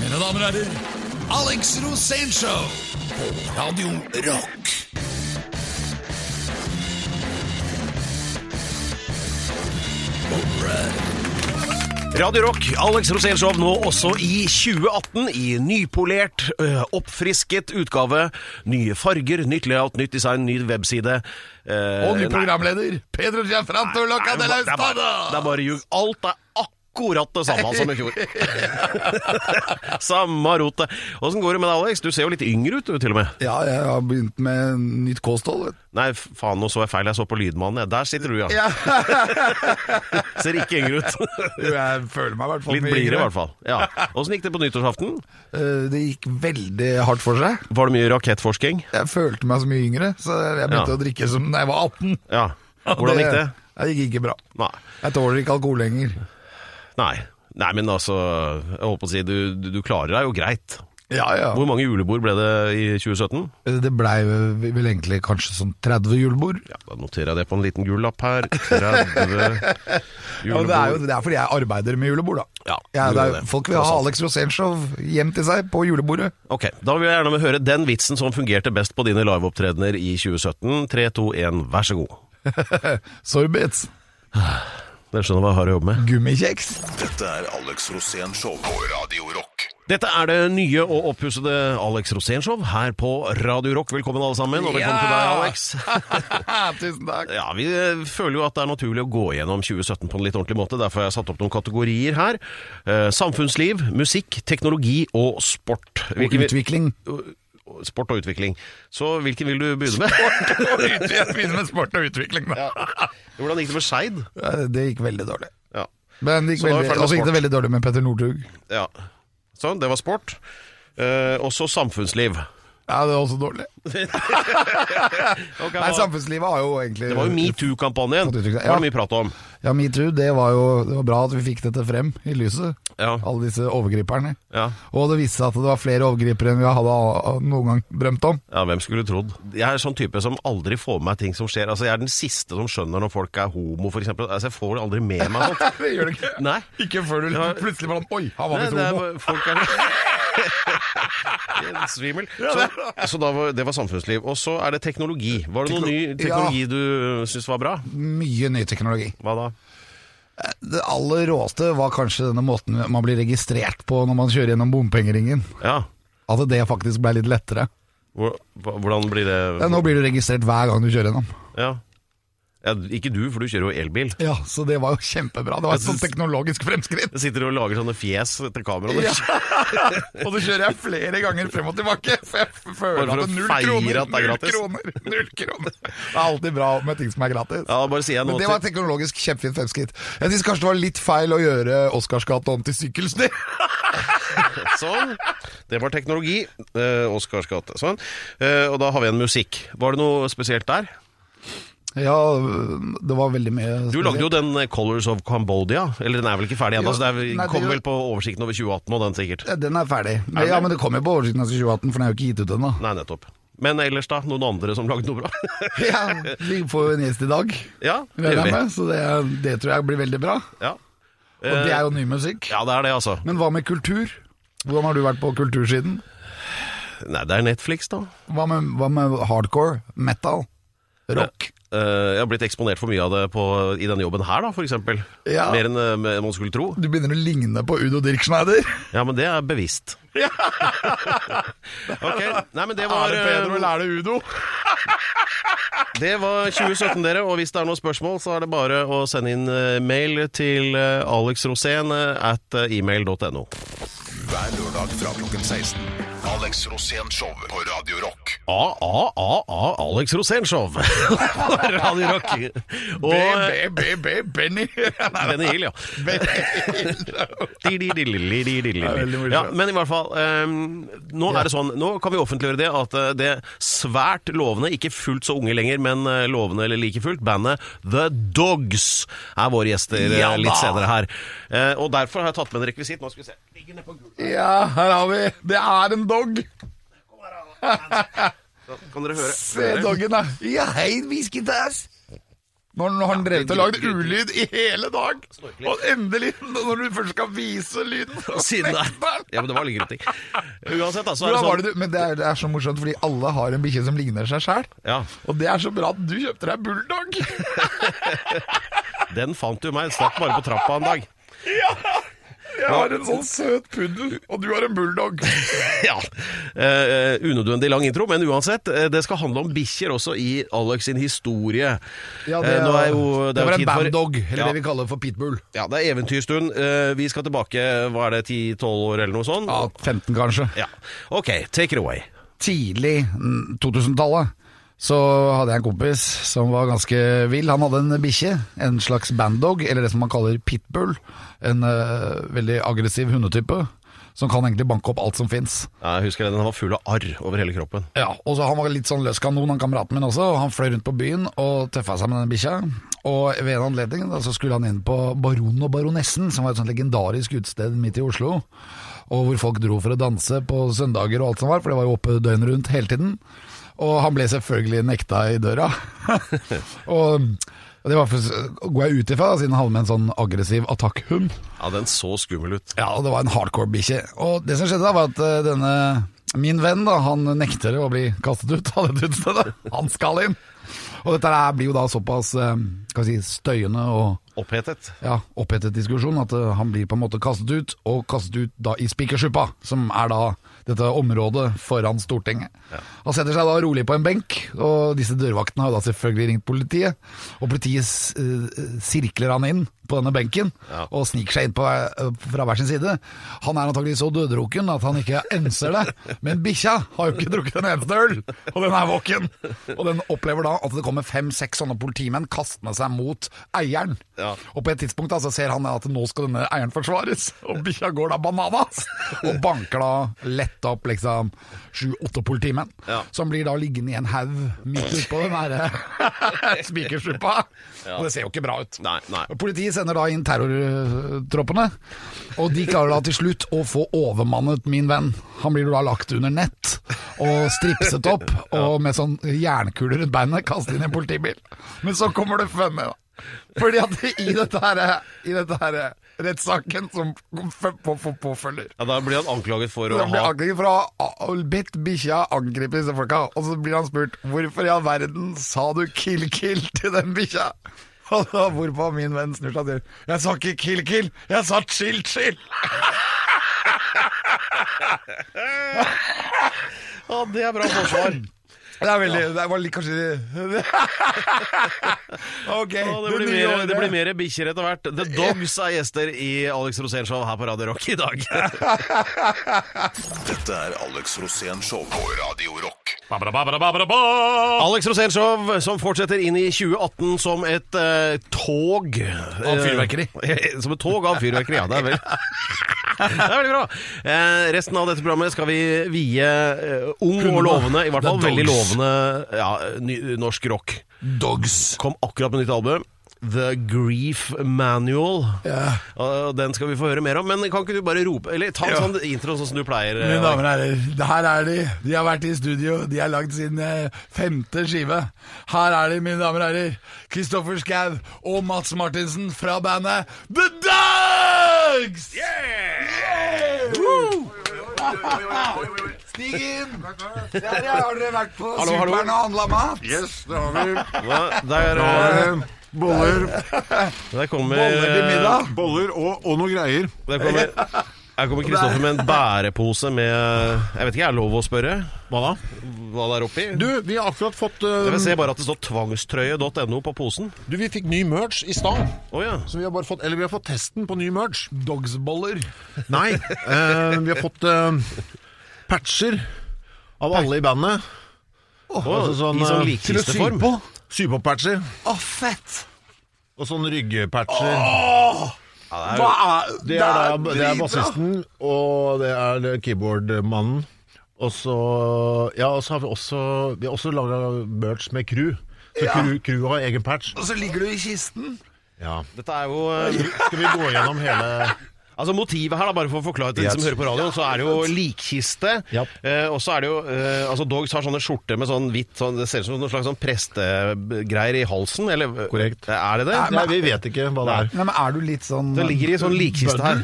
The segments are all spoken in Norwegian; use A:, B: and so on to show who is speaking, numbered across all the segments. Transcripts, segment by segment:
A: Mine damer og herrer, Alex Rosénshow på Radio Rock.
B: Radio Rock, Alex Rosénshow nå også i 2018 i nypolert, ø, oppfrisket utgave. Nye farger, nytt layout, nytt design, ny webside.
A: Og ny
B: program
A: programleder, Pedro Giafranto Locca de la
B: Eh, Det er bare, det er
A: Estada.
B: bare ljug. Alt er akkurat det samme som i fjor. samme rotet. Åssen går det med deg, Alex? Du ser jo litt yngre ut, du, til og med.
C: Ja, jeg har begynt med nytt kosthold. vet du.
B: Nei, faen, nå så jeg feil. Jeg så på Lydmannen. jeg. Der sitter du, ja. Ser ikke yngre ut.
C: Jeg føler meg i hvert fall
B: Litt
C: mye
B: blidere, i
C: yngre.
B: hvert fall. Ja. Åssen gikk det på nyttårsaften?
C: Eh, Det gikk veldig hardt for seg.
B: Var det mye rakettforsking?
C: Jeg følte meg så mye yngre, så jeg begynte
B: Ja.
C: å drikke som da jeg var 18.
B: Ja. Hvordan gikk det?
C: Det gikk ikke bra.
B: Nei.
C: Jeg tåler ikke alkohol lenger.
B: Nei. Nei, men altså Jeg holdt på å si, du, du, du klarer deg jo greit.
C: Ja, ja.
B: Hvor mange julebord ble det i 2017?
C: Eh, Det blei vel egentlig kanskje sånn 30 julebord.
B: Ja, Da noterer jeg det på en liten gul lapp her. 30
C: Ja, men det, er jo,
B: julebord.
C: det er fordi jeg arbeider med julebord, da.
B: Ja,
C: Jeg-
B: du
C: det
B: gjør
C: er,
B: det.
C: folk vil
B: Tross
C: ha
B: alt.
C: Alex Rosénshow hjem til seg på julebordet.
B: Ok, Da vil jeg gjerne høre den vitsen som fungerte best på dine liveopptredener i 2017. 3, 2, 1, vær så god.
C: Sorbets.
B: Dere skjønner hva jeg har å jobbe med?
C: Gummikjeks.
D: Dette er Alex Rosén Show på Radio Rock.
B: Dette er det nye og oppussede Alex Rosénshow her på Radio Rock. Velkommen alle sammen, og velkommen til deg,
C: Ja.
B: Alex.
C: Tusen takk.
B: Ja, Vi eh, føler jo at det er naturlig å gå gjennom 2017 på en litt ordentlig måte. Derfor har jeg satt opp noen kategorier her. Eh, samfunnsliv, musikk, teknologi og sport.
C: Og
B: Hvilken vil-
C: utvikling.
B: Sport og utvikling. Så hvilken vil du begynne med?
C: Jeg begynner med sport og utvikling, da.
B: Hvordan gikk det med Skeid?
C: Ja, Det gikk veldig dårlig.
B: Ja.
C: Men det
B: Så
C: gikk
B: da er vi
C: veldig,
B: ferdig med
C: også gikk det
B: sport.
C: veldig dårlig med Petter Northug.
B: ja. Sånn, det var sport. Eh, også samfunnsliv.
C: Ja, det var også dårlig.
B: Ok,
C: Nei,
B: hva-
C: samfunnslivet har jo egentlig
B: det var jo metoo-kampanjen.
C: Ja.
B: Det var det mye prat om.
C: Ja, metoo. Det var jo det var bra at vi fikk dette frem i lyset.
B: Ja.
C: Alle disse overgriperne.
B: Ja.
C: Og det viste seg at det var flere overgripere enn vi hadde a- a- noen gang drømt om.
B: Ja, hvem skulle trodd? Jeg er sånn type som aldri får med meg ting som skjer. Altså, Jeg er den siste som skjønner når folk er homo, f.eks. Altså, jeg får aldri med meg sånt.
C: Det gjør det ikke.
B: Nei.
C: Ikke før du
B: Ja.
C: plutselig var sånn Oi, han
B: Nei, det er, bare- folk er Jeg er Svimmel. Så, så da var, det var samfunnsliv. Og så er det teknologi. Var det noen ny teknologi du syns var bra?
C: Mye ny teknologi.
B: Hva da?
C: Det aller råeste var kanskje denne måten man blir registrert på når man kjører gjennom bompengeringen.
B: Ja.
C: At det faktisk ble litt lettere.
B: Hvor- hva- Hvordan blir
C: Ja,
B: det
C: nå blir du registrert hver gang du kjører gjennom.
B: ja. ja. Ikke du, for du kjører jo elbil.
C: Ja, så det var jo kjempebra. Det var et sånt teknologisk fremskritt.
B: Jeg sitter og lager sånne fjes til kameraet.
C: Ja. Og så kjører jeg flere ganger frem og tilbake, for jeg f- føler
B: Bare for
C: at det er
B: å
C: null
B: feire
C: kroner.
B: at det er
C: null
B: gratis.
C: kroner, null kroner. Det er alltid bra med ting som er gratis.
B: Ja, da bare sier jeg nå
C: Men det
B: til-
C: var teknologisk kjempefint fremskritt. Jeg syns kanskje det var litt feil å gjøre Oscarsgata om til sykkelsti.
B: Sånn. Det var teknologi. Eh, Oscars gate. Sånn. Eh, og da har vi en musikk. Var det noe spesielt der?
C: Ja, det var veldig mye
B: Du lagde jo den eh, 'Colors of Cambodia'. Eller den er vel ikke ferdig ennå,
C: Jo,
B: så det er,
C: nei, det
B: kommer
C: gjør-
B: vel på oversikten over 2018 og den sikkert.
C: Den er ferdig. Men, ja, men det kommer jo på oversikten av 2018, for den er jo ikke gitt ut ennå.
B: Nei, nettopp. Men ellers, da? Noen andre som lagde noe bra?
C: Ja, vi får jo en gjest i dag,
B: ja, det
C: regner
B: gjør
C: jeg
B: vi.
C: med, så det, det tror jeg blir veldig bra.
B: Ja.
C: Og det er jo ny musikk.
B: ja, det er det, altså.
C: Men hva med kultur? Hvordan har du vært på kultursiden?
B: Nei, det er Netflix, da.
C: Hva med, hva med hardcore, metal, rock?
B: Eh, jeg har blitt eksponert for mye av det på, i denne jobben her, da, for eksempel.
C: Ja.
B: Mer enn eh, man skulle tro.
C: Du begynner å ligne på Udo Dirkschneider.
B: Ja, men det er bevisst. ok. Nei, men det var eh,
C: er det Udo?
B: Det var 2017, dere. Og hvis det er noen spørsmål, så er det bare å sende inn eh, mail til eh, alexrosen eh, at eh, email.no.
D: Hver lørdag fra klokken 16. Alex Rosén Show på Radio Rock.
B: A-a-a-a Alex Rosén-show! Radio Rock. Og eh,
C: Benny.
B: Benny Hill, ja. Di-di-di-li-li-li-li-li.
C: Det er veldig morsomt.
B: ja. Men i hvert fall, eh, nå er det sånn Nå kan vi offentliggjøre det at eh, det svært lovende, ikke fullt så unge lenger, men eh, lovende eller like fullt, bandet The Dogs er våre gjester eh,
C: Ja da.
B: litt senere her. Eh, Og derfor har jeg tatt med en rekvisitt. Nå skal vi se. Ligger ned på gulvet.
C: Ja, her har vi. Det er en dog.
B: Kan dere høre?
C: Se doggen, da. Ja, hei, whisketass. Når nå har han drevet
B: det-
C: og lagd ulyd i hele dag!
B: Snorkelig.
C: Og endelig, når du først skal vise lyden så
B: Siden det
C: nekter han.
B: er Ja, men det var litt gråting. Uansett, da, så
C: Hvordan
B: er det
C: var
B: sånn
C: det du, men det er, det er så morsomt, fordi alle har en bikkje som ligner seg sjæl.
B: Ja.
C: Og det er så bra at du kjøpte deg bulldog!
B: Den fant du meg. Stakk bare på trappa en dag.
C: Jeg har en sånn søt puddel, og du har en bulldog.
B: ja. Eh, unødvendig lang intro, men uansett. eh, det skal handle om bikkjer også i Alex sin historie.
C: Ja,
B: Eh, nå er jo- det er
C: det
B: jo
C: var en
B: tid for-
C: bandog, eller
B: Ja.
C: det vi kaller for pitbull.
B: Ja, det er eventyrstund. Eh, vi skal tilbake, hva er det, 10-12 år eller noe sånt?
C: Ja, 15 kanskje.
B: Ja. Ok, take it away.
C: Tidlig mm, 2000-tallet så hadde jeg en kompis som var ganske vill. Han hadde en bikkje, en slags bandog, eller det som man kaller pitbull. En eh, veldig aggressiv hundetype, som kan egentlig banke opp alt som fins.
B: Ja, jeg husker den, den var full av arr over hele kroppen.
C: Ja, og så Han var litt sånn løs kanon, han kameraten min også. og Han fløy rundt på byen og tøffa seg med den bikkja. Og ved en anledning da, så skulle han inn på Baron og Baronessen, som var et sånt legendarisk utested midt i Oslo. Og hvor folk dro for å danse på søndager og alt som var, for det var jo oppe døgnet rundt hele tiden. Og han ble selvfølgelig nekta i døra. og det var for, går jeg ut ifra, da, siden han hadde med en sånn aggressiv attakkhund.
B: Ja, den så skummel ut.
C: Ja, og det var en hardcore bikkje. Og det som skjedde da, var at eh, denne Min venn da, han nekter å bli kastet ut av dette utestedet. Han skal inn. Og dette her blir jo da såpass eh, skal vi si, støyende og
B: Opphetet.
C: ja, opphetet diskusjon at eh, han blir på en måte kastet ut, og kastet ut da i Spikersuppa, som er da dette området foran Stortinget. Han setter seg da rolig på en benk, og disse dørvaktene har da selvfølgelig ringt politiet. Og politiet s- eh, sirkler han inn på denne benken,
B: Ja.
C: og sniker seg inn på, eh, fra hver sin side. Han er antagelig så døddrukken at han ikke enser det, men bikkja har jo ikke drukket en eneste øl, og den er våken. Og den opplever da at det kommer fem-seks sånne politimenn kastende seg mot eieren.
B: Ja.
C: Og på et tidspunkt da, så ser han at nå skal denne eieren forsvares, og bikkja går da bananas, og banker da lett opp liksom sju-åtte politimenn,
B: Ja.
C: som blir da liggende i en haug midt utpå den her spikersuppa. Og det ser jo ikke bra ut.
B: Nei, nei.
C: Politiet sender da inn terrortroppene, og de klarer da til slutt å få overmannet min venn. Han blir da lagt under nett og stripset opp, og med sånn jernkuler rundt beinet kastet inn i en politibil. Men så kommer det funny, da. Fordi at i dette her, i dette her rettssaken som f- på- på- påfølger
B: Ja, Da blir han anklaget for å
C: han blir
B: ha
C: angrepet for å ha a- bedt bikkja angripe disse folka, og så blir han spurt hvorfor i all verden sa du 'kill kill' til den bikkja? Og da hvorpå min venn snur seg og sier 'jeg sa ikke 'kill kill', jeg sa 'chill chill'.
B: Ja, det er bra forsvar.
C: Det er veldig Det var litt kanskje Ok.
B: Ja, det, blir
C: nye
B: mer,
C: året.
B: det blir mer bikkjer etter hvert. The Dogs er gjester i Alex Rosén Show her på Radio Rock i dag.
D: Dette er Alex Rosén Show på Radio Rock.
B: Alex Rosén Show som fortsetter inn i 2018 som et eh, tog Av
C: fyrverkeri.
B: som et tog av fyrverkeri, ja. Det er vel det er veldig bra. Eh, resten av dette programmet skal vi vie eh, ung og lovende, i hvert fall
C: The
B: veldig
C: Dogs.
B: lovende ja, ny, norsk rock.
C: Dogs.
B: Kom akkurat med nytt album. The Grief Manual. Og Den skal vi få høre mer om. Men kan ikke du bare rope Eller ta en
C: Ja.
B: sånn intro sånn som du pleier. eh,
C: Mine
B: Alex.
C: damer og herrer, det her er de. De har vært i studio. De har lagd sin eh, femte skive. Her er de, mine damer og herrer. Kristoffer Schau og Mats Martinsen fra bandet The Dogs! Woo! Stig inn! Der ja, har dere vært på
B: Hallo, hallo.
C: Superen og handla mat?
E: Yes, det har vi.
B: Ja, Der, eh,
E: Eh, Boller,
B: der kommer
C: Boller til middag.
E: boller og, og noen greier.
B: Der kommer her kommer Kristoffer med en bærepose med Jeg vet ikke, er det lov å spørre
E: Hva da?
B: hva det er oppi?
E: Du, vi har akkurat fått eh,
B: Jeg vil se bare at det står tvangstrøye.no på posen.
E: Du, vi fikk ny merch i stad.
B: Å ja.
E: Så vi har bare fått Eller vi har fått testen på ny merch.
C: Dogsboller.
E: Nei, eh, vi har fått eh, patcher av alle i bandet.
B: Å, I sånn
E: eh, til å sy
B: likkisteform.
E: på. Sy på patcher.
C: Å, fett!
E: Og sånn ryggpatcher.
C: Hva er
E: det, er da, det er
C: dritbra.
E: bassisten, og det er det keyboardmannen. Og så Ja, og så har vi også Vi har også laga merch med crew. Så
C: Ja.
E: crew, crew har egen patch.
C: Og så ligger du i kisten.
E: Ja.
B: Dette er jo eh,
E: Skal vi gå gjennom hele
B: ja, Altså Motivet her, da, bare for å forklare til de
E: Yes.
B: som hører på radioen, så er det jo likkiste.
E: Japp.
B: Eh, og så er det jo eh, Altså Dogs har sånne skjorter med sånn hvitt sånn, Det ser ut som noen slags sånn prestegreier i halsen, eller eh,
E: Korrekt.
B: Er det det?
E: Nei, vi vet ikke hva det er.
C: Nei, men er du litt sånn
B: Det ligger i sånn likkiste her.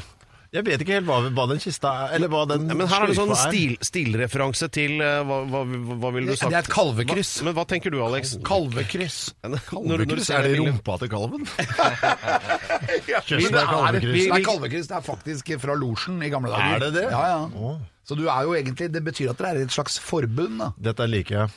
E: Jeg vet ikke helt hva, hva den kista er, eller hva den
B: Ja, men her er det sånn
E: sløyfa er.
B: stil, stilreferanse til eh, hva, hva, hva ville du
C: Det
B: sagt?
C: er et kalvekryss.
B: Hva- Men hva tenker du, Alex?
C: Kalvekryss.
B: Når- når du ser
E: er det
B: bildet-
E: rumpa til kalven?
B: Men
E: Kjøsla
B: det er-
E: kalvekryss.
C: Nei, kalvekryss det er faktisk fra losjen i gamle dager.
E: Er det det?
C: Ja, ja.
E: Å.
C: Så du er jo egentlig Det betyr at dere er i et slags forbund, da.
E: Dette liker jeg.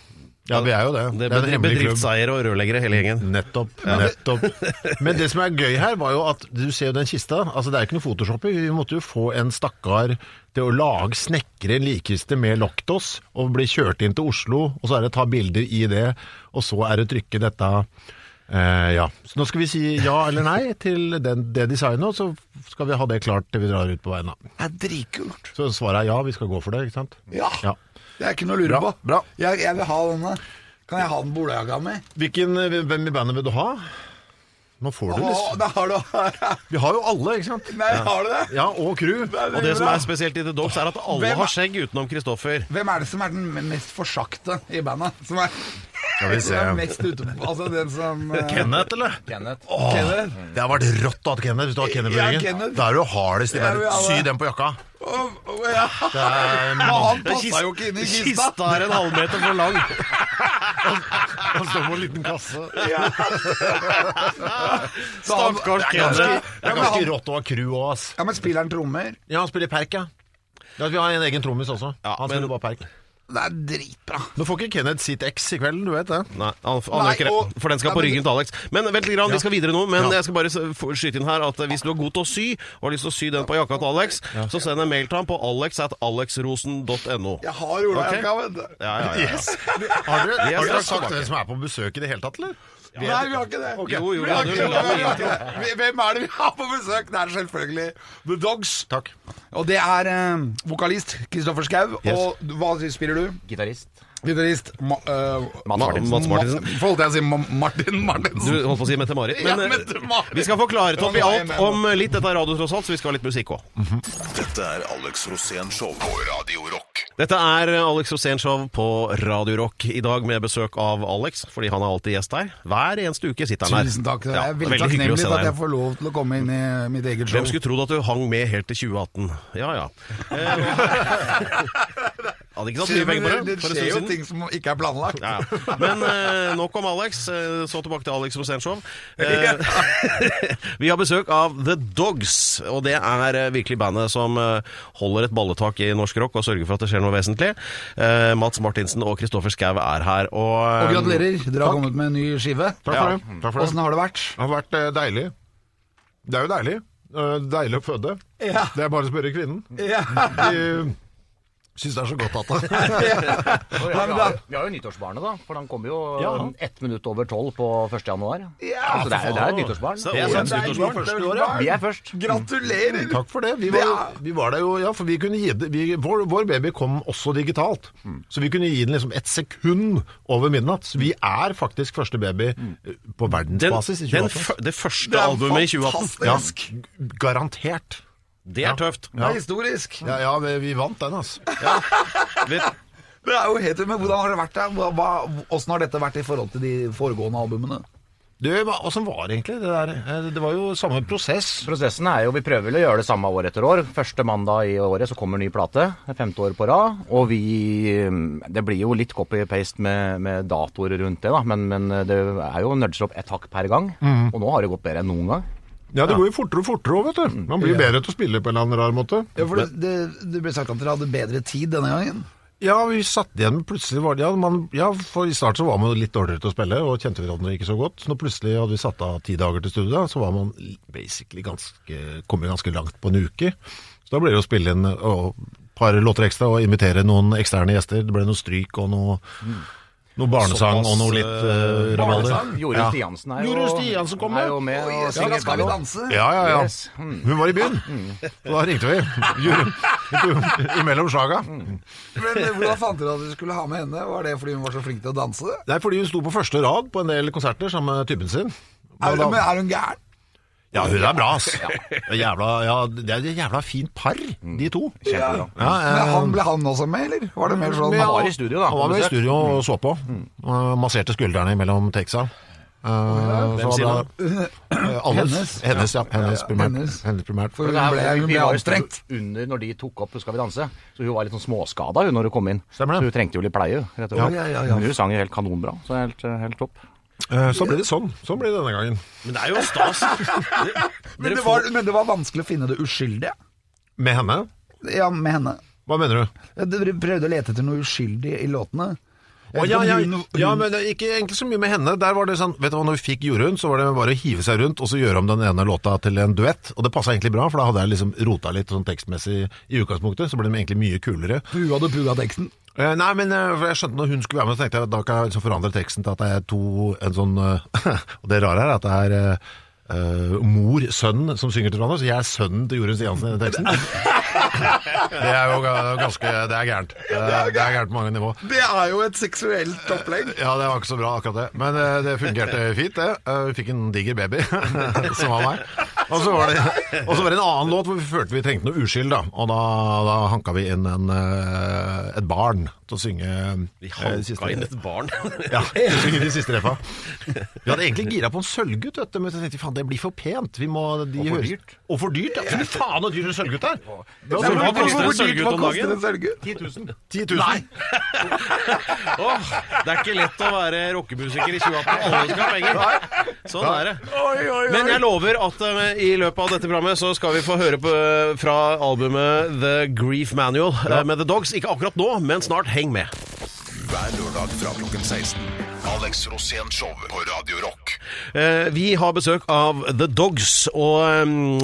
E: Ja, vi er jo det.
B: Det er
E: en
B: bedri-
E: hemmelig klubb.
B: bedriftseiere og rørleggere, hele gjengen.
E: Nettopp. nettopp. Men det som er gøy her, var jo at du ser jo den kista. Altså Det er jo ikke noe Photoshop i. Vi måtte jo få en stakkar til å lage, snekre en likkiste med Loktos og bli kjørt inn til Oslo. Og så er det ta bilder i det, og så er det trykke dette eh, Ja. Så nå skal vi si ja eller nei til den, det designet, og så skal vi ha det klart til vi drar ut på veien. da.
C: Det er dritkult.
E: Så svaret er ja, vi skal gå for det, ikke sant?
C: Ja.
E: ja.
C: Det er ikke noe å lure på.
E: bra.
C: Jeg, jeg vil ha denne. Kan jeg ha den bolajakka mi?
E: Hvilken, hvem i bandet vil du ha? Nå får
C: Å,
E: du lyst.
C: da har du
E: Vi har jo alle, ikke sant?
C: Nei, har du det?
E: Ja, og crew.
B: Og det som er spesielt i The Dogs, er at alle
C: Hvem er-
B: har skjegg utenom Kristoffer.
C: Hvem er det som er den mest forsakte i bandet? Som er,
E: Skal vi
C: som er mest ute på Altså den som eh,
E: Kenneth, eller?
F: Kenneth.
E: Åh,
C: Kenneth.
E: Det har vært rått å ha Kenneth hvis du har
C: Ja,
E: Kenneth-ryggen.
C: Kenneth.
E: da er du hardest
C: Jeg
E: i verden.
C: vil ha det.
E: Sy den på jakka.
C: Å, å, ja.
E: Det er
C: Men han
B: Det er kist-
C: passa jo ikke inn i kista!
B: Kista er en halvmeter for lang.
E: Han står på en liten kasse.
C: Altså.
E: Det
C: Så han-
B: Stakkars
C: Ja,
E: er
C: men
E: ganske,
B: Kenneth.
E: det er ganske rått å ha crew òg, ass.
C: Ja, men spiller han trommer?
E: Ja, han spiller perk, ja. Ja, Vi har en egen trommis også.
B: Ja,
E: Han
B: men-
E: spiller bare perk.
C: Det er dritbra.
E: Nå får ikke Kenneth sitt X i kvelden, du vet det.
B: Nei, han, han
C: Nei,
B: gjør ikke det,
C: og-
B: for den skal
C: Nei,
B: på
C: men-
B: ryggen til Alex. Men vent litt, grann, vi skal videre nå. Men
E: Ja.
B: jeg skal bare s- få skyte inn her at eh, hvis du er god til å sy, og har lyst til å sy den på jakka til Alex, så send en mail til ham på alex.alexrosen.no.
C: Jeg har olajakka, vet du.
B: Ja, ja, ja.
E: Yes! Har dere, har dere
B: straks
E: sagt
B: tilbake.
E: hvem som er på besøk i det hele tatt, eller?
C: Nei, vi har ikke det.
B: Jo, jo,
C: Vi
B: ja,
C: har
B: du-
C: ikke det. Vi har ikke det. Vi- Hvem er det vi har på besøk? Det er selvfølgelig The Dogs.
E: Takk.
C: Og det er eh, vokalist Kristoffer Schau. Og hva spiller du?
F: Gitarist.
C: Gitarist Ma, eh,
F: Mats
B: Ma-
F: Martinsen.
B: Mats Martinsen.
C: Ma- Forholdt jeg å si Ma Martin
B: Du
C: Martinsen?
B: holdt på å si Mette-Marit. Men
C: Ja,
B: eh,
C: Mette-Marit.
B: vi skal få klaret opp i
C: Ja, nå er jeg
B: alt
C: med
B: om litt. Dette er radio, tross alt, så vi skal ha litt musikk òg.
D: Dette er Alex Rosén Show på Radio Rock.
B: Dette er eh, Alex Rosénshow på Radio Rock i dag med besøk av Alex, fordi han er alltid gjest her. Hver eneste uke sitter han her.
C: Tusen takk. Jeg
B: Ja,
C: er veldig
B: veldig hyggelig å
C: takknemlig
B: se
C: for at
B: deg
C: jeg
B: igjen.
C: får lov til å komme inn i mitt eget show.
B: Hvem skulle trodd at du hang med helt til 2018? Ja ja. Eh, Hadde ikke tatt mye penger på det.
C: Det
B: for en
C: skjer jo
B: stund siden.
C: ting som ikke er planlagt.
B: Ja, ja. Men eh, nok om Alex. Eh, Så tilbake til Alex Rosénshow. Eh, vi har besøk av The Dogs, og det er eh, virkelig bandet som eh, holder et balletak i norsk rock og sørger for at det skjer noe vesentlig. Eh, Mats Martinsen og Kristoffer Schau er her. Og,
C: Og
B: eh,
C: gratulerer, dere har kommet med en ny skive.
E: Takk
B: Ja.
E: for det. Takk for det.
C: Åssen har det vært?
E: Det har vært eh, deilig. Det er jo deilig. Eh, Deilig å føde.
C: Ja.
E: Det er bare å spørre kvinnen. De eh, syns det er så godt at det
F: Vi
C: Ja, men da-
F: har, vi har jo nyttårsbarnet, da. For han kommer jo um,
E: Ja.
F: ett minutt over tolv på 1. januar.
C: Ja,
F: så det er, det er et nyttårsbarn.
B: Så det er årets nyttårsbarn.
F: Vi er først.
C: Gratulerer!
E: Takk for det. Vi
C: Det
E: var,
C: er-
E: vi var der jo, ja, for vi kunne gi det vi, vår, vår baby kom også digitalt.
C: Mm.
E: Så vi kunne gi den liksom et sekund over midnatt. Så vi er faktisk første baby
C: Mm.
E: eh, på
B: den,
E: verdensbasis i
B: den
E: 2018.
B: fø- det første
C: er
B: albumet i 2018.
E: Ja,
C: Fantastisk!
E: g- garantert.
B: Det er tøft.
C: Det er historisk.
E: Ja, ja, vi, vi vant den, altså.
B: Vet,
C: Det er jo helt Men hvordan har det vært der? Hva- hva- Åssen har dette vært i forhold til de foregående albumene?
E: Du, hva- Åssen var det egentlig det der? Eh, Det var jo samme prosess.
F: Prosessen er jo, Vi prøver vel å gjøre det samme år etter år. Første mandag i året så kommer ny plate. Femte år på rad. Og vi um, Det blir jo litt copy-paste med, med datoer rundt det, da. Men, men det er jo nudger opp ett hakk per gang. Og nå har det gått bedre enn noen gang.
E: Ja, det går jo fortere og fortere òg, vet du. Man blir bedre til å spille på en eller annen rar måte.
C: Ja, for det, det, det ble sagt at dere hadde bedre tid denne gangen.
E: Ja, vi satt igjen med plutselig var det, ja, man, ja, for i starten så var man litt dårligere til å spille, og kjente hverandre ikke så godt. Så når plutselig hadde vi satt av ti dager til studiet, så var man basically ganske, kom vi ganske langt på en uke. Så da ble det å spille inn et par låter ekstra og invitere noen eksterne gjester. Det ble noe stryk og noe, noe barnesang
B: Såpass,
E: og noe litt
F: eh,
E: uh, rabalder.
F: Jorunn
E: Ja.
F: Stiansen er jo,
E: Jorunn Stiansen kommer.
F: er jo med.
C: Oi,
F: og
C: jeg skal,
F: synger
C: skal vi
F: på.
C: danse?
E: Ja, ja, ja.
F: Yes.
E: Hun var i byen, og da ringte vi. Jorunn, Imellom slaga.
C: Men eh, hvordan fant dere at dere skulle ha med henne? Var det fordi hun var så flink til å danse?
E: Det er fordi hun sto på første rad på en del konserter sammen med typen sin. Og
C: Er,
E: da-
C: men er hun gæren?
E: Ja, hun er bra, ass. Det er Jævla, ja, det er et jævla fint par, de to.
F: Kjempebra.
E: Ja, eh,
C: Men han, ble han også med, eller? Var det mer sånn
F: Men han var i studio, da.
E: Han var med i studio og så på. Eh, masserte skuldrene mellom takesa. Eh, så
B: sier
E: var det- Eh, alles.
C: Hennes.
E: hennes. ja. Hennes primært.
C: hennes.
E: Hennes primært.
C: For hun
F: Nei,
C: ble, hun
F: vi
C: ble
F: var jo
C: anstrengt.
F: Under når de tok opp 'Skal vi danse', så hun var litt sånn småskada hun når hun kom inn.
E: Stemmer det.
F: Så hun trengte jo litt pleie. Rett og slett.
C: Ja, ja, ja, ja.
F: Men hun sang jo helt kanonbra, så det er helt, helt topp.
E: Eh, så ble det sånn. Sånn ble det denne gangen.
B: Men det er jo stas. Dere-
C: Men
B: dere
C: det,
B: får-
C: var, men det var vanskelig å finne det uskyldige.
E: Med henne?
C: Ja, med henne.
E: Hva mener du?
C: Dere prøvde å lete etter noe uskyldig i låtene. Jeg
E: Å,
C: vet
E: ja,
C: ikke om
E: ja,
C: hun- hun-
E: ja, men det er ikke egentlig så mye med henne. Der var det sånn, vet du hva, Når vi fikk Jorunn, så var det bare å hive seg rundt og så gjøre om den ene låta til en duett. Og det passa egentlig bra, for da hadde jeg liksom rota litt sånn tekstmessig i utgangspunktet. Så ble de egentlig mye kulere.
C: Pua du pua teksten.
E: Eh, nei, men eh, for jeg skjønte når hun skulle være med, så tenkte jeg at da kan jeg liksom forandre teksten til at det er to en sånn eh, Og det rare er at det er eh, eh, mor, sønn som synger til hverandre, så jeg er sønnen til Jorunn Stiansen i den teksten. Det er jo ga- ganske Det er gærent. Eh, Det er gærent på mange nivå.
C: Det er jo et seksuelt opplegg.
E: Ja, det var ikke så bra akkurat det. Men eh, det fungerte fint, det. Eh, vi fikk en diger baby, som var meg. Og så var, det, og så var det en annen låt hvor vi følte vi trengte noe uskyld, da. Og da, da hanka vi inn en, eh, et barn til å synge
B: Vi
E: eh,
B: hanka
E: siste-
B: inn et barn.
E: Ja, til å synge de siste refa. Vi hadde egentlig gira på en sølvgutt, vet du, men så tenkte vi faen, det blir for pent. Vi må, de
F: Og for
E: høres-
F: dyrt.
E: Og for dyrt, ja. Fy faen så dyr en sølvgutt er! Det var
B: Nei, men
E: sølvgutt.
B: Hva koster en
C: Hvor dyrt
B: sølvgutt om
C: koster
B: dagen?
C: en sølvgutt?
F: 10 000.
E: 10 000.
B: Åh, det er ikke lett å være rockemusiker i 2018. Alle skal ha penger. Sånn er det. Men jeg lover at eh, i løpet av dette programmet så skal vi få høre på, eh, fra albumet The Grief Manual eh, med The Dogs. Ikke akkurat nå, men snart. Heng med.
D: Hver lørdag fra klokken 16. Alex Rosén Show på Radio Rock.
B: Eh, Vi har besøk av The Dogs, og ehm,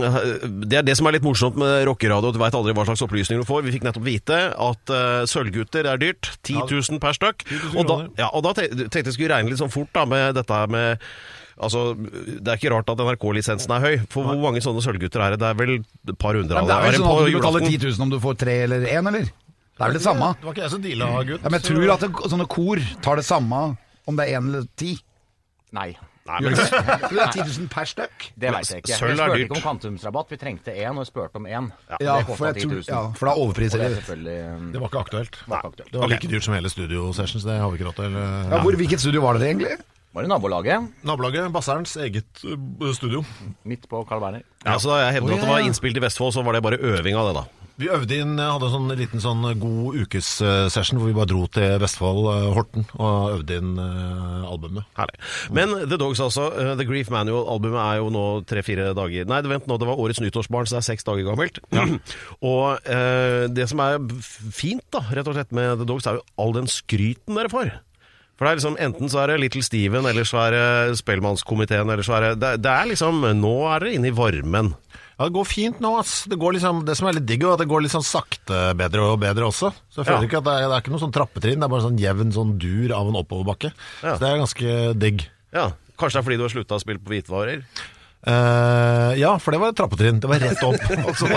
B: det er det som er litt morsomt med rockeradio. Du veit aldri hva slags opplysninger du får. Vi fikk nettopp vite at eh, sølvgutter er dyrt. 10 000 per stykk.
E: 10 000
B: Og da,
E: kroner.
B: ja, og da te- tenkte jeg skulle regne litt sånn fort da, med dette her med Altså, Det er ikke rart at NRK-lisensen er høy. For hvor mange sånne sølvgutter er det? Det er vel et par hundre av
C: Det er
B: det
C: vel sånn
B: på
C: at du betaler
B: julaften?
C: 10 000 om du får tre eller én, eller? Det er vel det samme?
E: Det var ikke jeg som deala, gutt.
C: Ja, men jeg tror at det, sånne kor tar det samme om det er én eller ti.
F: Nei.
B: Nei,
C: Gjør
B: men,
C: det ikke? Jeg tror det er 10 000 per stykk.
F: Det veit jeg ikke.
B: Sølv er
F: Vi spurte
B: dyrt.
F: ikke om kvantumsrabatt, vi trengte én, og vi spurte om én.
C: Ja,
F: det
C: for,
F: kosta
C: jeg
F: 10
C: tror,
F: 000.
C: ja, for det er overpris.
F: Og det er
C: Eller?
F: selvfølgelig um,
E: Det var ikke aktuelt.
F: var ikke aktuelt.
E: Det var like dyrt som hele studio sessions, det har vi ikke råd til.
C: Ja, hvor, hvilket studio var dere egentlig?
F: Var det nabolaget?
E: Nabolaget, Basserens eget eh, studio.
F: Midt på Carl Berner.
B: ja, så da jeg hevdet at det var innspilt i Vestfold, så var det bare øving av det, da.
E: Vi øvde inn, eh, hadde en sånn liten sånn god ukessession hvor vi bare dro til Vestfold, eh, Horten, og øvde inn eh, albumet.
B: Herlig. Men The Dogs, altså. eh, The Grief Manual-albumet er jo nå tre-fire dager Nei, vent nå, det var årets nyttårsbarn, så det er seks dager gammelt. og eh, det som er fint, da, rett og slett med The Dogs, er jo all den skryten dere får. For det er liksom, Enten så er det Little Steven, eller så er det Spellemannskomiteen, eller så er det, det Det er liksom Nå er dere inne i varmen.
E: Ja, det går fint nå, ass. Det, går liksom, det som er litt digg, er at det går litt sånn sakte bedre og bedre også. Så jeg føler
B: Ja.
E: ikke at det er, det er ikke noe sånn trappetrinn, det er bare sånn jevn sånn dur av en oppoverbakke.
B: Ja.
E: Så det er ganske digg.
B: Ja, Kanskje det er fordi du har slutta å spille på hvitvarer?
E: Eh, ja, for det var et trappetrinn. Det var rett opp. og så,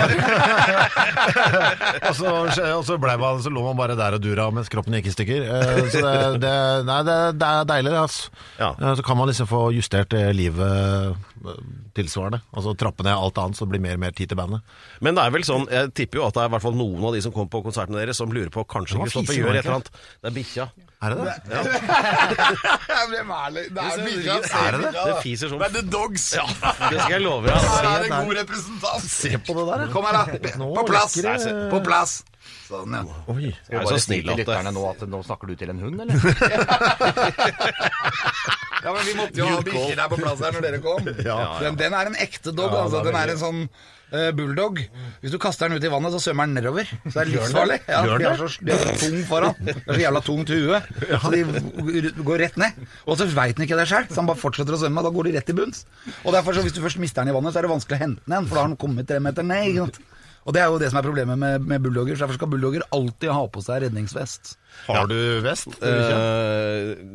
E: bare- og så, skje- og så, ble man, så lå man bare der og dura mens kroppen gikk i stykker. Eh, så det, det, nei, det, det er deilig, det. Altså.
B: Ja.
E: Eh, så kan man liksom få justert eh, livet eh, tilsvarende. Altså trappe ned alt annet, så det blir mer og mer tid til bandet.
B: Men det er vel sånn, jeg tipper jo at det er i hvert fall noen av de som kommer på konsertene deres, som lurer på kanskje
E: Det var
B: Kristoffer
E: fisen,
B: gjør et
E: var det ikke?
B: eller annet. Det er bikkja.
E: Er det det?
C: Hvem er det? Det er bikkja.
E: Er det det?
B: Det fiser som f-
C: The Dogs.
B: Det skal jeg love deg.
C: det en god representant.
E: Se på det der, ja.
C: Kom her, da.
E: Nå
C: På plass.
E: lekker det.
C: På plass. Sånn, ja.
E: Oi.
F: Skal
B: Jeg
F: vi
B: er så
F: bare si
B: snill
F: til
B: at det-
F: lytterne nå at nå snakker du til en hund, eller?
C: Ja, men Vi måtte jo ha bikkjer der på plass her når dere kom. Den, den er en ekte dog. altså. Den er en sånn eh, bulldog. Hvis du kaster den ut i vannet, så svømmer den nedover. Så det er livsfarlig. Ja, de
E: Gjør den
C: er så, de er så tung foran. Det er så jævla tungt hue. Så de r- går rett ned. Og så veit den ikke det sjøl, så han bare fortsetter å svømme. og Da går de rett til bunns. Og derfor så Hvis du først mister den i vannet, så er det vanskelig å hente den igjen, for da har den kommet tre meter ned. ikke sant? Og Det er jo det som er problemet med, med bulldogger. så Derfor skal bulldogger alltid ha på seg redningsvest.
E: Har du vest?
B: Det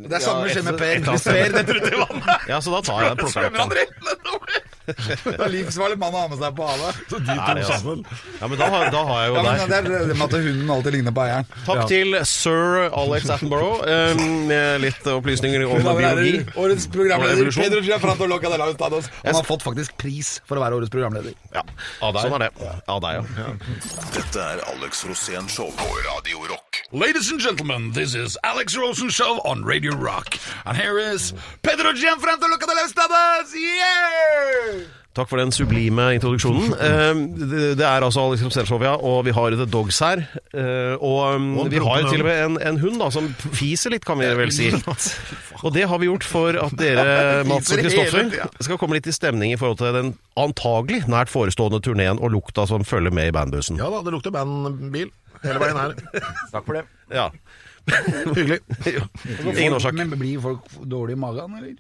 C: Det er samme skjer med Per.
B: Ja,
C: Hvis Per detter ut i vannet,
B: ja, så da tar jeg plukker jeg opp den.
C: rett nedover. Det er livsfarlig mann å ha med seg på havet. Så de
B: Er det, altså? Ja, men da har, da har jeg jo
C: Ja, men
B: deg.
C: det er det med at hunden alltid ligner på eieren.
B: Takk til sir Alex Attenborough eh, med litt opplysninger om biologi.
C: Årets
B: Og
C: programleder
B: evolusjon.
C: Pedro Giafranto Loca de la Hustados. Han har fått faktisk pris for å være årets programleder.
B: Ja, sånn er det. Av deg, ja.
D: Dette er Alex Rosén Show på Radio Rock.
A: Ladies and gentlemen, this is Alex Rosen Show on Radio Rock. And here is Pedro Gianfranco Luca de la Estadas! Yeah!
B: Takk for den sublime introduksjonen. Eh, det, det er altså Alex Rosenshov, ja, og vi har The Dogs her. Eh, og um,
E: Og en
B: vi har
E: proppen
B: til og med en, en hund da, som fiser litt, kan vi vel si. Og det har vi gjort for at dere, Mats og Kristoffer, skal komme litt i stemning i forhold til den antagelig nært forestående turneen og lukta som følger med i bandbussen.
E: Ja da, det lukter bandbil hele veien her.
F: Takk for det.
B: Ja.
E: Hyggelig.
B: Ingen årsak.
C: Men blir folk dårlige i magen, eller?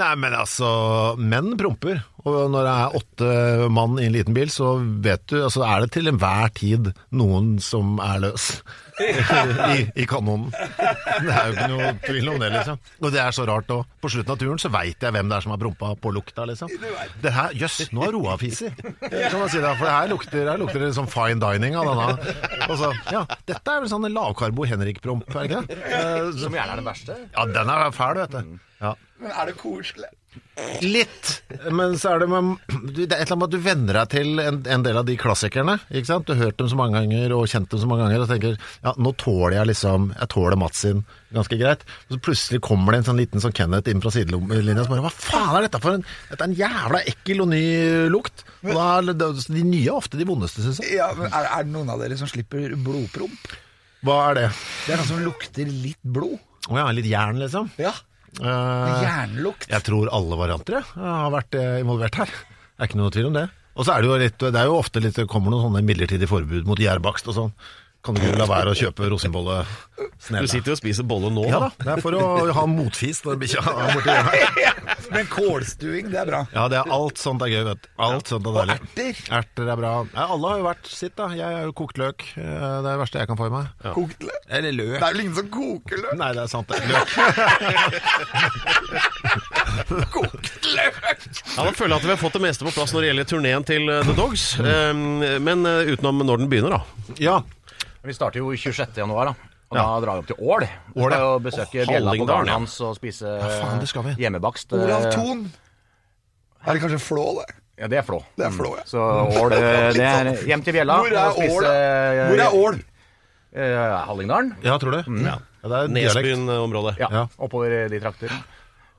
E: Nei, men altså, menn promper. Og når det er åtte mann i en liten bil, så vet du altså, er det til enhver tid noen som er løs. I, I kanonen. Det er jo ikke noe tvil om det, liksom. Og det er så rart òg. På slutten av turen så veit jeg hvem det er som har prompa på lukta, liksom. Det her, Jøss, nå har Roa fiser. Kan man si det, for det her lukter, her lukter det liksom fine dining av denne. Og så, ja, dette er vel sånn lavkarbo-Henrik-promp, er det ikke det? Eh, så-
F: Som gjerne er den verste.
E: Ja, den er fæl, vet du. Ja.
C: Men er det koselig?
E: Litt, men så er det med, du- Det er et eller annet med at du venner deg til en, en del av de klassikerne. Ikke sant? Du har hørt dem så mange ganger og kjent dem så mange ganger og tenker ja, nå tåler jeg liksom Jeg tåler Mats sin ganske greit. Og så plutselig kommer det en sånn liten sånn Kenneth inn fra sidelinja og bare Hva faen er dette for en Dette er en jævla ekkel og ny lukt. Og da, er det- altså, de nye er ofte de vondeste, syns jeg.
C: Ja, men er, er det noen av dere som slipper blodpromp?
E: Hva er det?
C: Det er noe som lukter litt blod.
E: Å ja, litt jern, liksom?
C: Ja.
E: Eh,
C: Jernlukt.
E: Jeg tror alle varianter jeg, har vært eh, involvert her. Det er ikke noe tvil om det. Og så er det jo litt, det er jo ofte litt, det kommer noen sånne midlertidige forbud mot gjærbakst og sånn. Kan du la være å kjøpe rosenbolle
B: Du sitter jo og spiser bolle nå,
E: Ja da,
B: da.
E: det er for å ha motfis når bikkja er borti hjørnet.
C: Men kålstuing, det er bra.
E: Ja, det er alt sånt er gøy, vet du. Alt sånt er deilig.
C: erter.
E: Erter er bra. Ja, alle har jo vært sitt, da. Jeg har jo kokt løk. Eh, Det er det verste jeg kan få i meg.
C: Kokt løk.
E: Eller løk.
C: Det er jo ingen som koker løk.
E: Nei, det er sant. det. Løk.
C: Kokt løk!
B: Ja, Da føler jeg at vi har fått det meste på plass når det gjelder turneen til eh, The Dogs. Eh, Men eh, utenom når den begynner, da.
E: Ja,
F: Vi starter jo 26. januar, da. Og da drar vi opp til Ål. Vi
E: Ål,
F: skal
E: ja.
F: jo besøke
B: Åh,
F: bjella på
B: Hallingdal,
F: gården
B: ja.
F: hans og spise
E: faen, det skal vi.
F: hjemmebakst.
C: Olav
F: eh,
C: Thon. Er det kanskje Flå, det?
F: Ja, det er Flå.
C: Det er Flå, ja.
F: Så Ål, eh, det er hjem til bjella.
C: Hvor er
F: og spise,
C: Ål?
F: eh,
C: Hvor er Ål?
F: eh, Hallingdalen.
E: ja tror du? Mm, Ja. det er dialekt.
B: Nesbyen-området.
F: Ja,
E: Ja.
F: oppover eh, de trakter.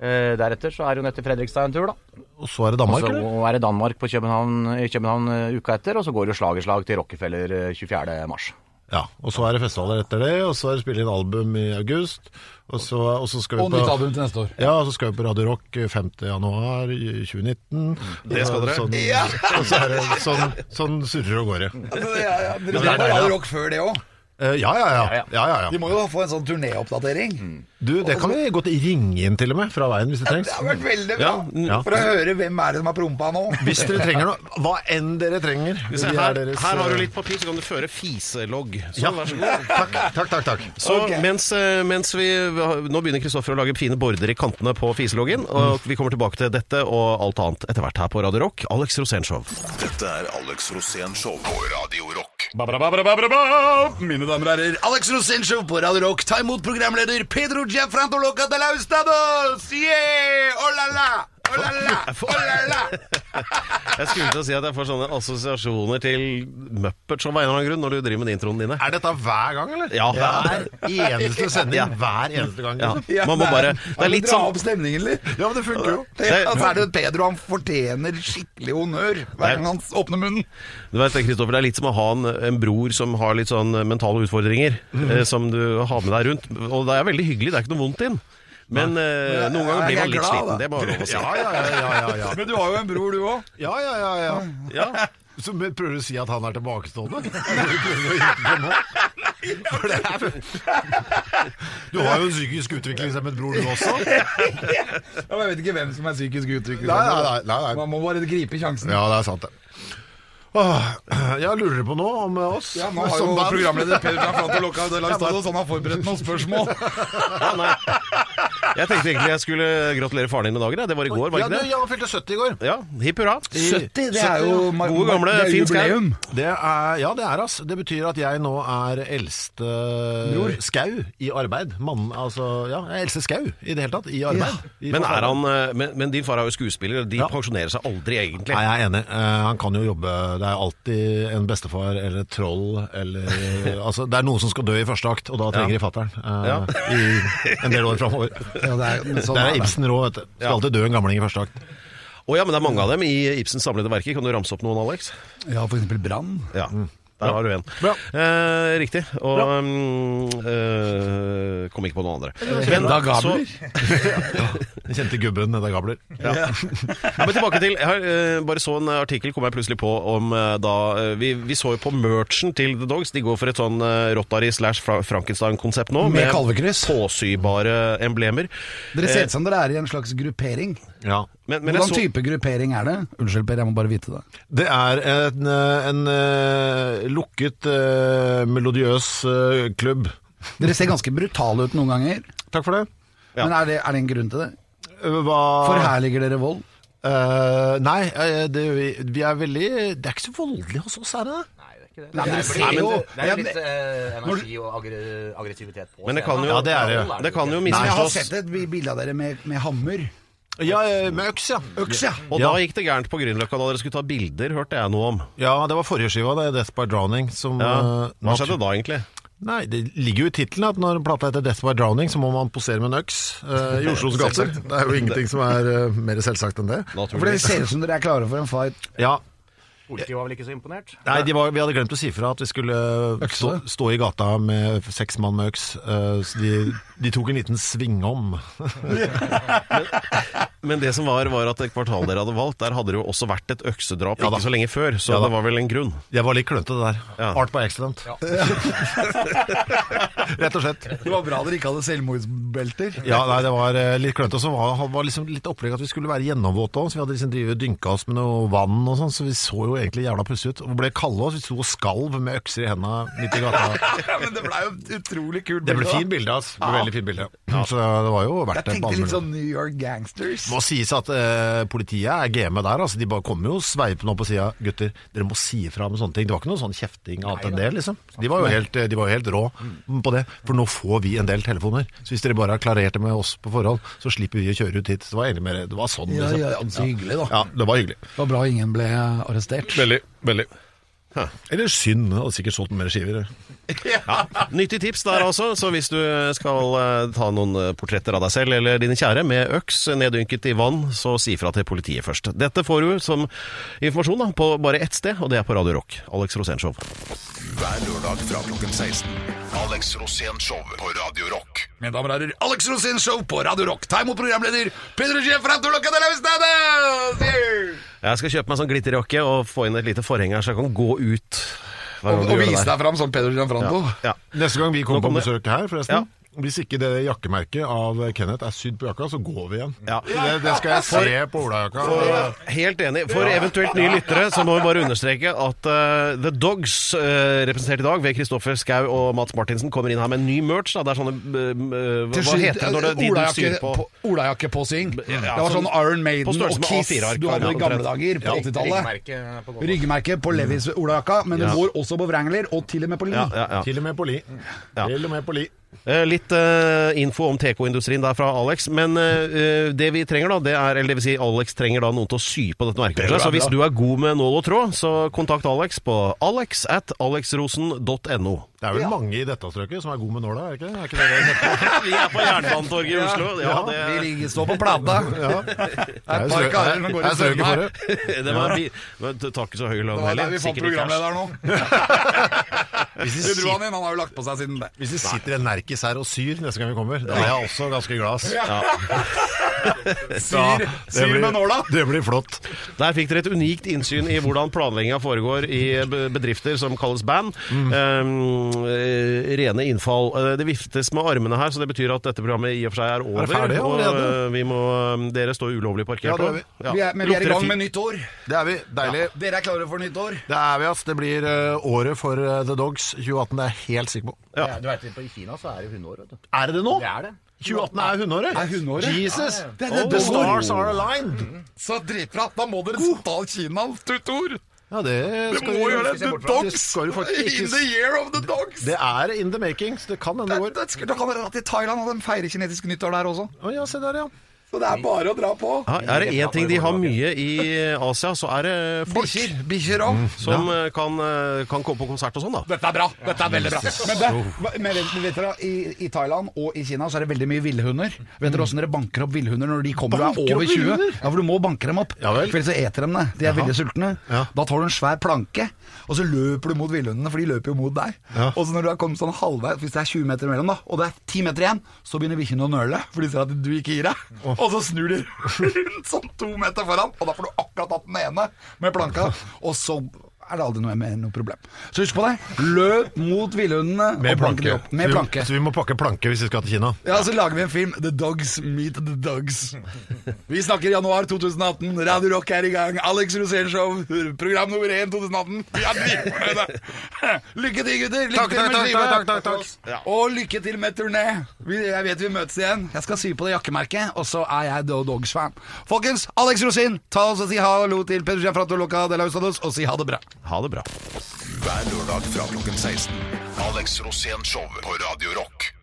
F: Eh, deretter så er det jo ned til Fredrikstad en tur, da.
E: Og så er det Danmark,
F: Så
E: eller?
F: er det Danmark på København, i København eh, uka etter, og så går det slag i slag til Rockefeller eh, 24. mars.
E: Ja, og så er det festivaler etter det, og så er det spille inn album i august. Og så, og så skal vi
C: Og
E: på,
C: nytt album til neste år.
E: Ja, og så skal vi på Radio Rock 5. januar 2019.
B: Det skal dere.
E: Sånn, Og så er det sånn, sånn surrer og går det.
C: Altså, ja, ja. Dere
E: det er
C: dere var
E: deilig,
C: jo
E: da.
C: rock før det òg.
E: Eh, Ja, ja, ja.
F: ja.
E: ja, ja,
C: De
E: ja.
C: må jo få en sånn turnéoppdatering.
E: Du, det kan vi godt ringe inn til og med, fra veien hvis det
C: Det
E: trengs.
C: har vært veldig bra.
B: Ja,
E: ja.
C: For å høre hvem er det som har prompa nå.
E: Hvis dere trenger noe, hva enn dere trenger.
B: Se,
E: vi er
B: her,
E: deres,
B: her har du
E: eh,
B: litt papir, så kan du føre fiselogg. Sånn,
E: Ja,
B: vær så god.
E: takk, takk, takk. takk.
B: Så mens, eh, mens vi Nå begynner Kristoffer å lage fine border i kantene på fiseloggen, og vi kommer tilbake til dette og alt annet etter hvert her på Radio Rock. Alex Rosénshow.
D: Dette er Alex Rosén Show på Radio Rock.
A: Mine damer og herrer, Alex Rosen Show på Radio Rock. Ta imot programleder Pedro Gianfranco Luca de la Estadas! Yeah! Oh la la! Oh la la! Oh la la!
B: Jeg skulle til å si at jeg får sånne assosiasjoner til Muppets av en eller annen grunn når du driver med de introene dine.
E: Er dette hver gang, eller?
B: Ja.
E: Hver eneste sending.
B: Ja.
E: Hver eneste gang.
B: Ja,
E: liksom.
B: man må bare Det er litt
C: dra
B: sånn
C: opp stemningen litt.
E: Ja, men det funker jo.
C: Ja, så er det jo Pedro, han fortjener skikkelig honnør hver gang han åpner munnen.
B: Du vet, det, Kristoffer, det er litt som å ha en, en bror som har litt sånn mentale utfordringer,
C: Mhm.
B: eh, som du har med deg rundt. Og det er veldig hyggelig, det er ikke noe vondt i den. Men eh, noen ganger
C: jeg
B: blir
C: er
B: man litt
C: glad, da.
B: sliten, det må jeg lov å si.
E: Ja, ja, ja, ja, ja, ja.
C: Men du har jo en bror, du òg.
E: Ja, ja, ja, ja.
B: Ja.
E: Så men prøver du å si at han er tilbakestående? Prøver du å hjelpe på nå? For det er- Du har jo en psykisk utviklingshemmet bror, du også.
C: Jeg vet ikke hvem som er psykisk utviklet.
E: Nei, nei, nei, nei, nei.
C: Man må bare gripe sjansen.
E: Ja, det er sant, det. Åh, Ja, lurer dere på noe om eh, oss?
C: Ja, nå har
E: Som
C: jo
E: band?
C: sånn programleder Pedro Gianfranco Locca de la Estado, så han har forberedt noen spørsmål.
B: Ja, nei. Jeg tenkte egentlig jeg skulle gratulere faren din med dagen. jeg. Det var i går, var
E: Ja, du,
B: ikke det?
E: ja, han fylte 70 i går.
B: Ja, Hipp hurra.
C: 70, det er jo mar-
B: Gode gamle
C: det er
B: Finn Skau.
C: jubileum.
E: Det er, ja, det er ass. Det betyr at jeg nå er eldste skau i arbeid. Mann, altså, ja, jeg er eldste skau i det hele tatt, i arbeid. I
B: Men, er
E: forsvaret.
B: han, eh, men, men din far er jo skuespiller, og de
E: Ja.
B: pensjonerer seg aldri egentlig.
E: Nei, jeg er enig. Eh, han kan jo jobbe. Det er alltid en bestefar eller et troll eller Altså, det er noen som skal dø i første akt, og da trenger de fatter'n eh,
B: Ja.
E: i en del år framover.
C: Ja, det er, men sånn
E: Der
C: er
E: er
C: det.
E: Ibsen rå, vet du. Skal alltid dø en gamling i første akt.
B: Å ja, men det er mange av dem i Ibsens samlede verker. Kan du ramse opp noen, Alex?
C: Ja, for eksempel Brann.
B: Ja. Der har du en.
E: Bra.
B: Eh, riktig. Og mm, eh, kom ikke på noen andre.
C: Brenda Gabler.
B: så-
E: Den kjente gubben Edda Gabler.
B: Ja. Ja, men tilbake til Jeg har, eh, bare så en artikkel, kom jeg plutselig på om eh, da eh, vi, vi så jo på merchen til The Dogs. De går for et sånn eh, Rotary slash Fra- Frankenstein-konsept nå.
C: Med kalvekryss.
B: Påsybare emblemer.
C: Dere ser ut som dere er i en slags gruppering.
E: Ja.
B: Men, men jeg
C: Hvordan
B: så,
C: type gruppering er det? Unnskyld, Per, jeg må bare vite det.
E: Det er en, eh, en eh, lukket, eh, melodiøs eh, klubb.
C: Dere ser ganske brutale ut noen ganger,
E: Takk for det.
B: Ja.
C: men er det, er det en grunn til det?
E: Eh, Hva
C: Forherliger dere vold?
E: Eh, nei, eh, det, vi, vi er veldig Det er ikke så voldelig hos oss, er det det?
C: Nei, men dere
F: Det
C: ser
F: er
C: jo
F: jo litt, det er
C: Ja,
F: jo litt
C: men-
F: eh, energi og aggre, aggressivitet på
B: Men det kan
F: scenen,
B: jo-
E: Ja,
F: da.
E: det er det.
F: Vold
B: det kan jo
C: Jeg
F: ikke.
C: har
B: misforstås.
C: sett et bilde av dere med, med hammer.
E: Ja, eh, med øks, ja.
C: Øks, ja.
B: og da gikk det gærent på Grünerløkka da dere skulle ta bilder, hørte jeg noe om.
E: Ja, det var forrige skiva, det. 'Death by Drowning'. Som,
B: Ja.
E: eh,
B: Hva skjedde da, egentlig?
E: Nei, Det ligger jo i tittelen at når plata heter 'Death by Drowning', så må man posere med en øks eh, i Oslos gater. Det er jo ingenting som er eh, mer selvsagt enn det.
C: For dere
B: Naturligvis.
C: ser ut som dere er klare for en fight.
E: Ja,
F: Politiet var vel ikke så imponert?
E: Nei, de var, vi hadde glemt å si fra at vi skulle eh, stå, stå i gata med seks mann med øks. eh, så de, de tok en liten svingom.
B: Men det som var, var at det kvartalet dere hadde valgt, der hadde det jo også vært et øksedrap
E: Ja da.
B: ikke så lenge før, så
E: Ja da.
B: det var vel en grunn.
E: Jeg var litt klønete der.
B: Ja.
E: Art by accident. Rett og slett.
C: Det var bra dere ikke hadde selvmordsbelter.
E: Ja, nei, det var eh, litt klønete. Og så var, var liksom litt opplegg at vi skulle være gjennomvåte òg, så vi hadde liksom drivet og dynka oss med noe vann og sånn, så vi så jo egentlig jævla pussige ut. Og ble kalde også, vi sto og skalv med økser i henda midt i gata.
C: Men det blei jo et utrolig kult
E: Det ble
C: bilde, da.
E: fint bilde, altså. Det ble veldig fint bilde. Så det var jo verdt
C: Jeg
E: det. på alle
C: tenkte litt
E: mulige
C: sånn New York Gangsters.
E: må sies at eh, politiet er game der. Altså, de bare kommer jo sveipende opp og sier gutter, dere må si ifra om sånne ting. Det var ikke noe sånn kjefting annet enn det, liksom. De var jo helt, eh, de var jo helt rå
C: Mm.
E: på det. For nå får vi en del telefoner. Så hvis dere bare har klarert det med oss på forhånd, så slipper vi å kjøre ut hit. Så det var egentlig mer Det var sånn,
C: Ja,
E: liksom.
C: ja, ja, så hyggelig, da.
E: Ja, det var hyggelig.
C: Det var bra ingen ble arrestert.
E: Veldig. Veldig. Eller synd, og sikkert solgt mer skiver.
B: Nyttig tips der altså, så hvis du skal eh, ta noen eh, portretter av deg selv eller dine kjære med øks neddynket i vann, så si fra til politiet først. Dette får du som informasjon da, på bare ett sted, og det er på Radio Rock. Alex Rosénshow.
D: Hver lørdag fra klokken 16. Alex Rosén Show på Radio Rock.
A: Mine damer og herrer, Alex Rosén Show på Radio Rock. Ta imot programleder Peder Sjef fra Torlokka de Laustados!
B: Jeg skal kjøpe meg sånn glitterjakke og få inn et lite forheng her, så jeg kan gå ut. hver
A: Og,
B: gang du
A: og
B: gjør det
A: vise
B: der.
A: deg fram som Peder Gianfranto.
B: Ja.
E: Neste gang vi
B: Nå
E: kommer
B: kom
E: på
B: det.
E: besøk her, forresten. Hvis ikke det jakkemerket av Kenneth er sydd på jakka, så går vi igjen.
B: Ja.
E: Det, det skal jeg se på olajakka.
B: Helt enig. For eventuelt nye lyttere så må vi bare understreke at eh, The Dogs, eh, representert i dag ved Kristoffer Skau og Mats Martinsen, kommer inn her med en ny merch. Da. Det er sånne eh, hva, hva heter det når det, de du syr på?
C: Olajakkepåsying.
B: Ja,
C: det
B: sånn-
C: var sånn Iron
B: på
C: Maiden og
B: størrelse med
C: Kiss
B: A4-ark,
C: du hadde
B: ja,
C: i gamle
B: omtrent.
C: dager på 80-tallet.
F: Ryggmerke på godt.
C: Ryggmerke på Levis olajakka, men det går også på Wrangler, og til og med på Lyn.
B: Ja, ja, ja.
E: Til og med på li.
B: Ja.
E: Til og med på li.
B: Eh, Litt eh, info om TK-industrien der fra Alex. Men eh, eh, det vi trenger da, det er Eller det vil si, Alex trenger da noen til å sy på dette merket. Så hvis du er god med nål og tråd, så kontakt Alex på alex at alexrosen.no.
E: Det er vel mange i dette strøket som er gode med nåla, er det ikke det? Er ikke det det heter?
B: Vi er på Jernbanetorget i Oslo. Ja,
C: Vi
B: det,
C: ligger står på plata.
E: Det er
C: Et
E: jo
C: par
E: strø-
C: karer som
E: det
C: går
E: er
C: i
E: strøket for
C: søvne
E: det.
B: det var bi- men Du tar ikke så høy lønn
A: Det var der
B: heller.
A: vi fant
B: Sikkert i cash.
A: programlederen nå.
E: Hvis de
A: Vi dro
E: sit-
A: han inn, han har jo lagt på seg siden det.
E: Hvis det sitter en nerkis her og syr neste gang vi kommer, da er jeg også ganske glad. ass. Ja,
A: Syr,
E: det
A: syr
E: blir-
A: med nåla.
E: Det blir flott.
B: Der fikk dere et unikt innsyn i hvordan planlegginga foregår i eh, be- bedrifter som kalles band. Um, eh, rene innfall. Eh, Det viftes med armene her, så det betyr at dette programmet i og for seg er over.
E: Er det ferdig
B: og
E: allerede?
B: eh, vi må, eh, dere står ulovlig parkert.
E: Ja, det er vi.
B: nå. Ja.
C: Vi er- Men vi er i
B: Lukter det
C: gang
B: fi-
C: med nytt år.
E: Det er vi. Deilig.
C: Dere er klare for nytt år?
E: Det er vi, ass. Det blir eh, året for eh, The Dogs 2018, det er jeg helt sikker på.
F: Du vet, på- I Kina så er det hundeår, vet du.
E: Er det det nå?
F: Det er det.
E: 2018 er hundeåret.
C: Er hundeåret?
E: Jesus!
C: Det er det
E: The
C: det står.
E: stars are aligned.
C: Så dritbra! Da må dere ta Kina, tutor!
E: Ja, det
C: Du
E: skal
C: må
E: du-
C: gjøre det!
E: skal
C: The
E: du
C: dogs!
E: faktisk-
C: In the year of the dogs!
E: Det er in the making, så det kan hende
C: Det,
E: det går.
C: det, det kan være at i Thailand og de feirer kinesisk nyttår der også.
E: Å ja, se der, ja.
C: Så det
E: Mm.
C: er bare å dra på.
B: Ja, er det én ting de har mye i Asia, så er det folk
C: Bikkjer. Bikkjer
E: Mm.
C: òg.
B: som eh, kan, eh, kan komme på konsert og sånn, da.
C: Dette er bra. Dette er veldig bra. Men, det, men vet, vet dere, i, I Thailand og i Kina så er det veldig mye villhunder. Vet dere åssen dere banker opp villhunder når de kommer og
E: Mm. Banker
C: er
E: opp
C: over 20?
E: villhunder?
C: Ja, for du må banke dem opp.
E: Ja vel.
C: For ellers så eter de det. De er veldig sultne.
E: Ja.
C: Da tar du en svær planke, og så løper du mot villhundene, for de løper jo mot deg.
E: Ja.
C: Og så når du har kommet sånn halvveis, hvis det er 20 meter imellom, da, og det er 10 meter igjen, så begynner bikkjene å nøle, for de ser at du ikke gir deg. Og så snur de rundt sånn to meter foran, og da får du akkurat tatt den ene med planka, og så er det aldri noe, med noe problem. Så husk på det. Løp mot villhundene
E: Med
C: og planke de
E: planke.
C: opp. Med
E: Så vi-
C: planke.
E: Så vi må pakke planke hvis vi skal til Kina.
C: Ja, Så lager vi en film. The Dogs Meet The Dogs. Vi snakker januar 2018. Radio Rock er i gang. Alex Rosénshow, program nummer én 2018. Vi er dritfornøyde. Lykke til, gutter. Lykke
A: Takk,
C: til
A: takk,
C: med
A: takk,
C: skiva.
A: takk, takk, takk,
C: Og lykke til med turné. Vi- Jeg vet vi møtes igjen. Jeg skal sy på det jakkemerket, og så er jeg The Dogs-fan. Folkens, Alex Rosin, ta oss og si hallo til Pedro Gianfratoloca de la Usados, og si ha det bra.
B: Ha det bra.
D: Hver lørdag fra klokken 16. Alex Rosén Show på Radio Rock.